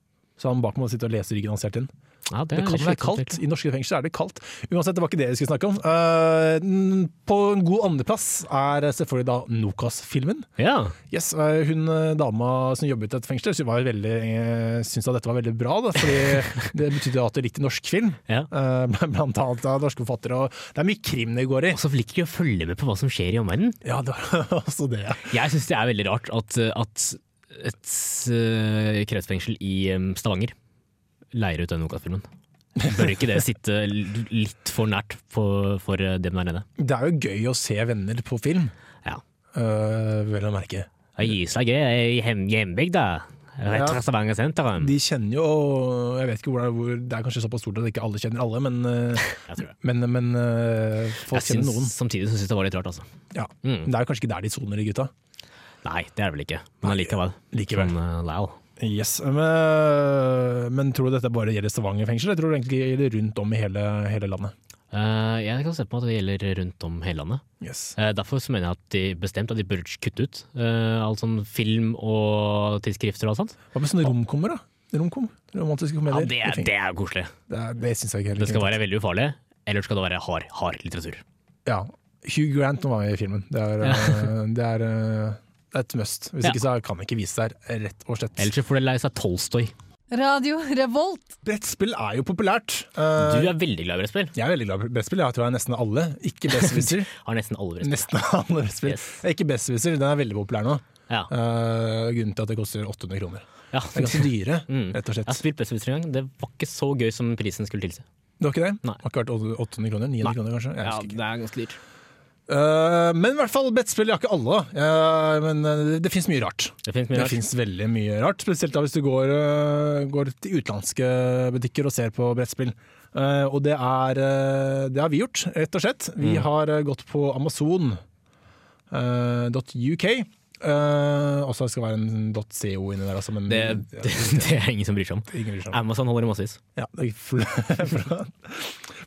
S2: Så han bak må sitte og lese ryggen hans hele tiden.
S3: ja det,
S2: Det
S3: er
S2: kan
S3: litt
S2: være
S3: slitsomt,
S2: kaldt.
S3: egentlig.
S2: I norske fengsler er det kaldt. Uansett, det var ikke det vi skulle snakke om. Eh, n- på en god andreplass er selvfølgelig da Nokas-filmen.
S3: Ja,
S2: Yes, eh, hun eh, dama som jobbet i et fengsel, sy- var jo veldig, eh, syntes at dette var veldig bra. Da,
S3: [LAUGHS]
S2: fordi det betydde jo at du likte norsk film.
S3: ja.
S2: Eh, [LAUGHS] Blant annet av norske forfattere. Og det er mye krim det går i.
S3: Og så liker de å følge med på hva som skjer i omverdenen.
S2: Ja, det var [LAUGHS] også det. ja.
S3: Jeg syns det er veldig rart at, at et eh, kretsfengsel i eh, Stavanger leier ut den Nokas-filmen. Bør ikke det sitte l- litt for nært for, for eh, dem der nede?
S2: Det er jo gøy å se venner på film,
S3: Ja.
S2: eh, vel å merke.
S3: Gislag er i hjem, hjembygda. Rett
S2: Ja.
S3: fra Stavanger sentrum.
S2: De kjenner jo Jeg vet ikke hvor det er, hvor, det er kanskje såpass stort at ikke alle kjenner alle, men eh,
S3: Jeg tror det.
S2: Men, men øh, folk
S3: Jeg
S2: kjenner noen.
S3: syns, samtidig syns jeg det var litt rart, altså.
S2: Ja.
S3: Mm.
S2: Det er jo kanskje ikke der de soner, de gutta.
S3: Nei, det er det vel ikke. Men allikevel.
S2: likevel.
S3: Som, eh, lal.
S2: Yes, Men, men tror du dette bare gjelder Stavanger fengsel, eller tror du egentlig det gjelder rundt om i hele, hele landet?
S3: Eh, jeg kan se på meg at det gjelder rundt om hele landet.
S2: Yes.
S3: Eh, Derfor så mener jeg at de bestemt at de burde kutte ut eh, all sånn film og tidsskrifter og alt sånt.
S2: Hva med sånne romkommer, da? Romkom? Romantiske
S3: Ja,
S2: komedier?
S3: det,
S2: i
S3: er-
S2: feng-
S3: det er koselig.
S2: det, er- det syns jeg ikke heller.
S3: Det skal være veldig ufarlig, eller skal det være hard, hard litteratur.
S2: Ja. Hugh Grant var med i filmen. Det er, øh, det er, øh, det er et must. Hvis
S3: Ja.
S2: ikke så kan det ikke vise seg her, rett og slett.
S3: Ellers så får det leie seg Tolstoy.
S6: Radio Revolt.
S2: Brettspill er jo populært.
S3: Du
S2: Eh,
S3: er veldig glad i brettspill.
S2: Jeg er veldig glad i brettspill. Jeg tror jeg er nesten alle. Ikke
S3: [LAUGHS]
S2: Besserwisser.
S3: Har nesten alle brettspill.
S2: Nesten [LAUGHS] alle brettspill.
S3: Yes.
S2: Ikke Besserwisser, den er veldig populær nå.
S3: Ja.
S2: Eh, grunnen til at det koster 800 kroner.
S3: Ja.
S2: Det er
S3: [LAUGHS]
S2: ganske dyre,
S3: Mm.
S2: rett og
S3: Jeg har
S2: slett.
S3: spilt Bestefester en gang. Det var ikke så gøy som prisen skulle tilsi.
S2: Det var ikke det?
S3: Nei.
S2: Det har ikke vært 800 kroner? 900 kroner, kanskje? Jeg husker ikke.
S3: det er ganske dyrt.
S2: Eh, men i hvert fall brettspill. Jeg har ikke alle, da. Eh, men eh, det fins mye rart.
S3: Det finnes mye
S2: Det
S3: rart.
S2: finnes veldig mye rart, spesielt da hvis du går, eh, går til utenlandske butikker og ser på brettspill. Eh, og det er eh, Det har vi gjort, rett og slett. Vi
S3: Mm.
S2: har eh, gått på eh, amazon.uk. Uh, også skal det være en .co inni der, altså. Men
S3: Det, [LAUGHS] det, det er ingen som bryr seg om.
S2: Ingen
S3: [LAUGHS]
S2: bryr seg om.
S3: Amazon holder i massevis.
S2: Ja, det er fl- [LAUGHS] flott.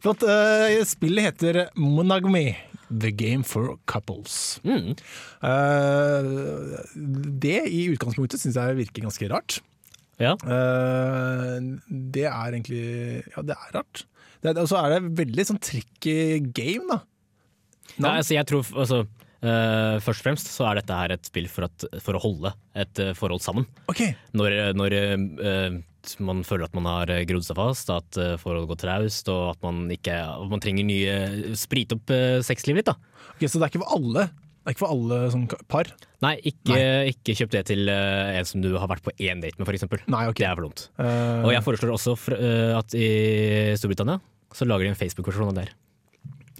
S2: Flott. Eh, spillet heter Monogamy. The Game for Couples.
S3: Mm.
S2: Eh, det i utgangspunktet syns jeg virker ganske rart.
S3: Ja.
S2: Eh, det er egentlig Ja, det er rart. Det er- Og så er det veldig sånn tricky game, da. Navn?
S3: Nei, altså, jeg tror altså, eh, Først og fremst så er dette her et spill for, at, for å holde et eh, forhold sammen.
S2: OK.
S3: Når, når eh, man føler at man har grodd seg fast, at eh, forholdet går traust, og at man, ikke, man trenger nye Sprite opp eh, sexlivet litt, da.
S2: Ok, så det er ikke for alle? Det er ikke for alle sånn ka- par?
S3: Nei, ikke, ikke kjøp det til eh, en som du har vært på én date med, f.eks.
S2: Nei, ok.
S3: Det er for dumt.
S2: Eh,
S3: Og jeg foreslår også fra- eh, at i Storbritannia så lager de en Facebook-versjon av det. her.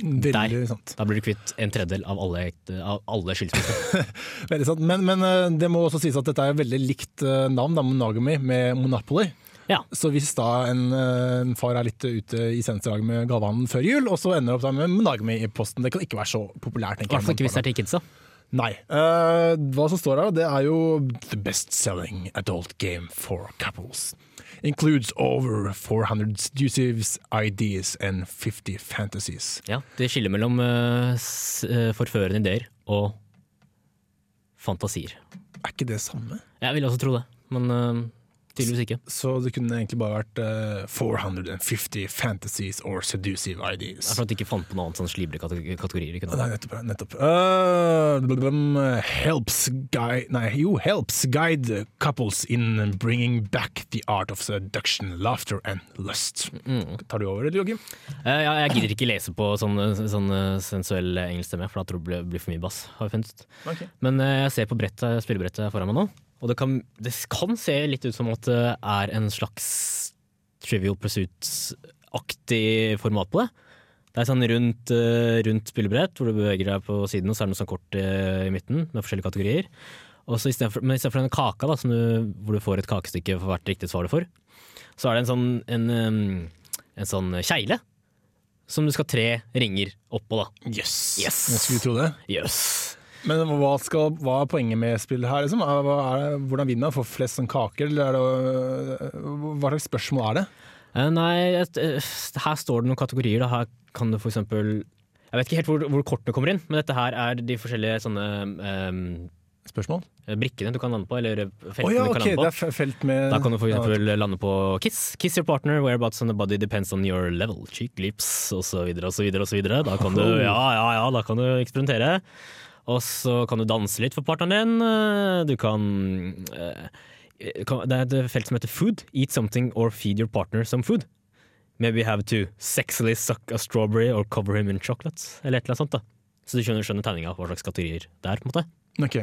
S2: Eh, veldig sant.
S3: Da blir du kvitt en tredjedel av alle, ekte- av alle skilsmisser.
S2: Veldig sant. Men, men eh, det må også sies at dette er veldig likt eh, navn, da, Monogamy, med Monopoly.
S3: Ja.
S2: Så hvis da en, eh, en far er litt ute i sendedrag med Galvanen før jul, og så ender opp da med Managmi i posten, det kan ikke være så populært.
S3: I hvert fall ikke hvis det er til kidsa.
S2: Nei. Eh, hva som står her, det er jo The best-selling adult game for couples. Includes over 400 seductive ideas and 50 fantasies.
S3: Ja, det skiller mellom eh, s- eh, forførende ideer og fantasier.
S2: Er ikke det samme?
S3: Jeg ville også tro det, men eh, tydeligvis ikke.
S2: Så det kunne egentlig bare vært eh, 450 fantasies or seductive
S3: Det er
S2: ideas.
S3: for at de ikke fant på noe annet sånn slibre kate- kategorier. Ikke
S2: Nei,
S3: noe.
S2: nettopp. nettopp. Eh, blum, blum, helps guide Nei, jo, helps guide couples in bringing back the art of seduction, laughter and lust.
S3: Mm.
S2: Tar du over, eller, Joakim?
S3: Eh, ja, jeg gidder ikke lese på sånn, sånn eh, sensuell engelsk stemme, for da tror jeg det blir- blir for mye bass. har jeg funnet ut. Men eh, jeg ser på brettet, spillebrettet foran meg nå, og det kan, det kan se litt ut som at det er en slags Trivial Pursuit-aktig format på det. Det er sånn rundt, eh, rundt spillebrett, hvor du beveger deg på siden, og så er det noe sånn kort eh, i midten med forskjellige kategorier. Og så i stedet for- Men istedenfor den kaka, da, som du, hvor du får et kakestykke for hvert riktig svar du får, så er det en sånn, en, em, en sånn kjegle som du skal tre ringer oppå, da.
S2: Yes.
S3: Yes.
S2: Jeg skulle tro det.
S3: Jøss.
S2: Men hva, skal, hva er poenget med spillet her? Liksom? Er, hva er det, hvordan vinner man? Får flest sånn kaker? Eller er det, hva slags spørsmål er det?
S3: Eh, Nei, et, eh, her står det noen kategorier. Da. Her kan du for eksempel Jeg vet ikke helt hvor, hvor kortene kommer inn, men dette her er de forskjellige sånne em,
S2: Spørsmål?
S3: brikkene du kan lande på, eller eh, feltene
S2: Å ja,
S3: du kan
S2: ok, det
S3: lande
S2: er
S3: på.
S2: fe- felt med
S3: Da kan du for
S2: Ja,
S3: eksempel lande på kiss. Kiss your partner, whereabouts on the body depends on your level. Cheek lips, og så videre, og så videre, og så videre. Da kan du, ja, ja, ja, da kan du eksperimentere. Og så kan du danse litt for partneren din. Du kan eh, kan- Det er et felt som heter food. Eat something or feed your partner some food. Maybe have to sexually suck a strawberry or cover him in chocolate. Eller et eller annet sånt, da. Så du skjønner, skjønner tegninga hva slags kategorier det er, på en måte.
S2: ok.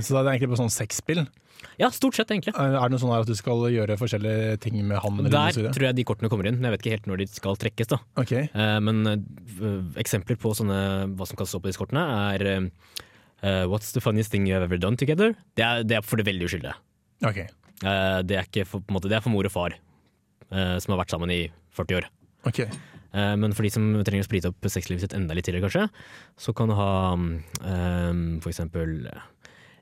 S2: Så da er det egentlig på sånn sexspill?
S3: Ja, stort sett, egentlig.
S2: Er det noe sånn her at du skal gjøre forskjellige ting med han? Eller noe
S3: Der
S2: sånt?
S3: tror jeg de kortene kommer inn. men Jeg vet ikke helt når de skal trekkes. da.
S2: Ok.
S3: Eh, Men eh, eksempler på sånne, hva som kan stå på disse kortene, er eh, What's the funniest thing you have ever done together? Det er, det er for det veldig uskyldige.
S2: ok.
S3: Eh, Det er, ikke for, på en måte, det er for mor og far, eh, som har vært sammen i 40 år.
S2: Ok.
S3: Eh, Men for de som trenger å sprite opp sexlivet sitt enda litt tidligere, kanskje, så kan du ha um, for eksempel eh,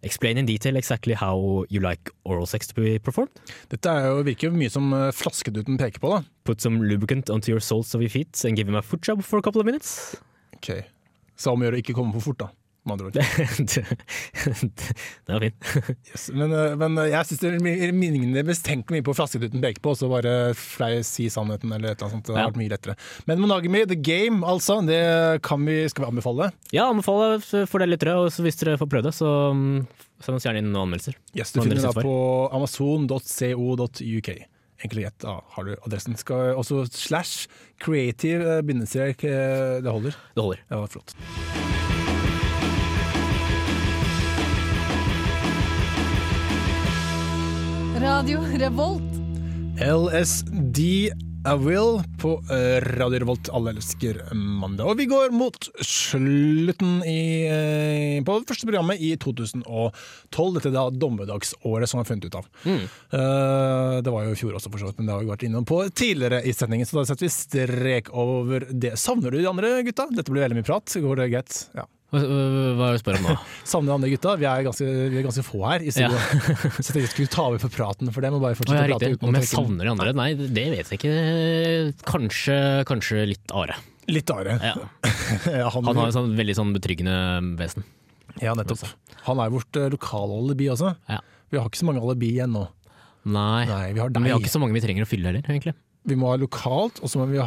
S3: Explain in detail exactly how you like oral sex to be performed.
S2: Dette er jo, virker jo mye som eh, flaskeduten peker på, da.
S3: Put some lubricant onto your soles of your feet and give him a foot job for a couple of minutes.
S2: Ok. Så om å gjøre å ikke komme for fort, da. Med
S3: [LAUGHS]
S2: andre ord.
S3: det det var fint.
S2: Yes, Men, øh, men øh, jeg syns det minner bestenkelig mye på flaskeduten peker på, og så bare flei si sannheten eller et eller annet sånt. Det hadde
S3: Ja.
S2: vært mye lettere. Men Monogamy, The Game, altså, det kan vi, skal vi anbefale.
S3: Ja, anbefaler for dere lyttere, og så hvis dere får prøvd det, så mm, send oss gjerne inn noen anmeldelser.
S2: Yes, du
S3: Hva
S2: finner det
S3: adresse
S2: da på amazon.co.uk. Enkelt og greit, da har du adressen. Skal også slash creative øh, bindestrek, øh, det holder.
S3: Det holder.
S2: Det var flott.
S6: Radio Revolt.
S2: LSD Awill på eh, Radio Revolt. Alle elsker mandag. Og vi går mot slutten i, eh, på det første programmet i 2012. Dette er da dommedagsåret som vi har funnet ut av.
S3: Mm.
S2: Eh, Det var jo i fjor også, for så vidt, men det har vi vært innom på tidligere i sendingen. Så da setter vi strek over det. Savner du de andre gutta? Dette blir veldig mye prat. Går det greit? Ja.
S3: Hva er det du
S2: [LAUGHS]
S3: spør om nå?
S2: Savner de andre gutta? Vi er ganske, vi er ganske få her i studio. [LAUGHS] Så jeg tenkte jeg skulle ta over for praten for dem. og bare
S3: Å,
S2: fortsette
S3: ja,
S2: å prate
S3: riktig.
S2: uten å
S3: Om jeg
S2: trekke den.
S3: savner de andre? Nei, det vet jeg ikke. Kanskje, kanskje litt Are.
S2: Litt are.
S3: Ja.
S2: [LAUGHS] Ja, han,
S3: Han har jo sånn, veldig sånn betryggende vesen.
S2: Ja, nettopp. Han er vårt eh, lokalalibi også.
S3: Ja.
S2: Vi har ikke så mange alibi igjen nå.
S3: Nei.
S2: Nei, vi har
S3: Men
S2: deg.
S3: vi
S2: Vi,
S3: har ikke så mange vi trenger å fylle heller, egentlig.
S2: må ha lokalt, og så må vi ha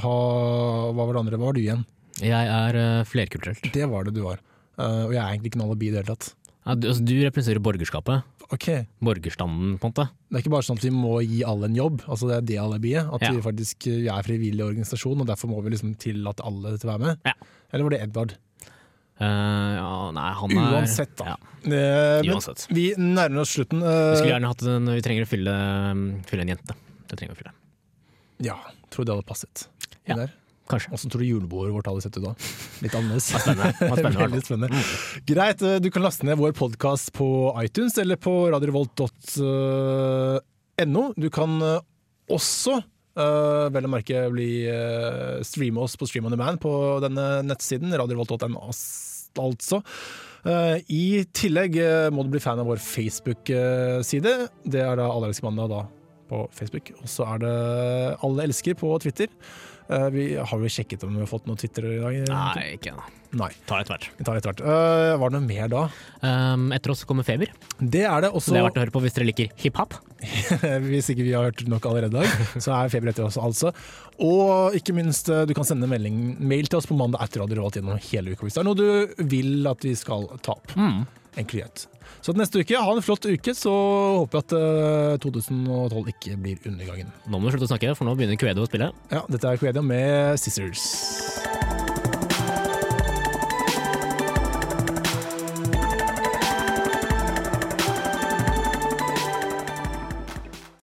S2: Hva var det andre? Hva var du igjen?
S3: Jeg er eh, flerkulturelt.
S2: Det var det du var. Eh, og jeg er egentlig ikke noe alibi i det hele tatt.
S3: Ja, du, altså, du representerer borgerskapet.
S2: Ok, Det
S3: Borgerstanden, på en måte.
S2: er ikke bare sånn at vi må gi alle en jobb, altså det er det alibiet. At
S3: Ja.
S2: vi faktisk eh, vi er frivillig organisasjon, og derfor må vi liksom tillate alle til å være med.
S3: Ja.
S2: Eller var det Edvard?
S3: Eh, ja, nei, han er
S2: Uansett, da.
S3: Ja,
S2: Eh, men
S3: uansett.
S2: vi nærmer oss slutten.
S3: Vi
S2: eh,
S3: skulle gjerne hatt en Vi trenger å fylle, um, fylle en jente. Det trenger vi å fylle.
S2: ja, tror det hadde passet.
S3: Ja.
S2: Der.
S3: Kanskje.
S2: Hvordan tror du julebordet vårt hadde sett ut da? Litt annerledes.
S3: Altså, var [LAUGHS] spennende, i hvert fall.
S2: Veldig spennende.
S3: Mm.
S2: Greit, eh, du kan laste ned vår podkast på iTunes eller på radiorevolt.no. Du kan eh, også eh, vel å merke bli eh, streame oss på Stream on Demand på denne nettsiden, radiovolt.no ass- altså. Eh, I tillegg eh, må du bli fan av vår Facebook-side. Det er da Alle elsker mandag da på Facebook. Og så er det Alle elsker på Twitter. Eh, Vi har jo sjekket om vi har fått noen Twitter i dag.
S3: Nei, ikke ennå.
S2: Nei.
S3: Tar etter hvert.
S2: Vi tar etter hvert. Eh, var det noe mer da?
S3: Um, etter oss kommer Feber.
S2: Det er det
S3: Så det er
S2: også.
S3: verdt å høre på hvis dere liker hiphop.
S2: [LAUGHS] Hvis ikke vi har hørt nok allerede i
S3: [LAUGHS]
S2: dag, så er feber etter oss, altså. Og ikke minst, eh, du kan sende melding, mail til oss på mandag etter Radio Revolt gjennom hele uka hvis det er noe du vil at vi skal ta opp.
S3: Mm.
S2: Enkelt og greit. Så til neste uke, ha en flott uke, så håper jeg at eh, 2012 ikke blir undergangen.
S3: Nå må du slutte å snakke, for nå begynner Kvedo å spille.
S2: Ja, dette er Coedia med Scissors.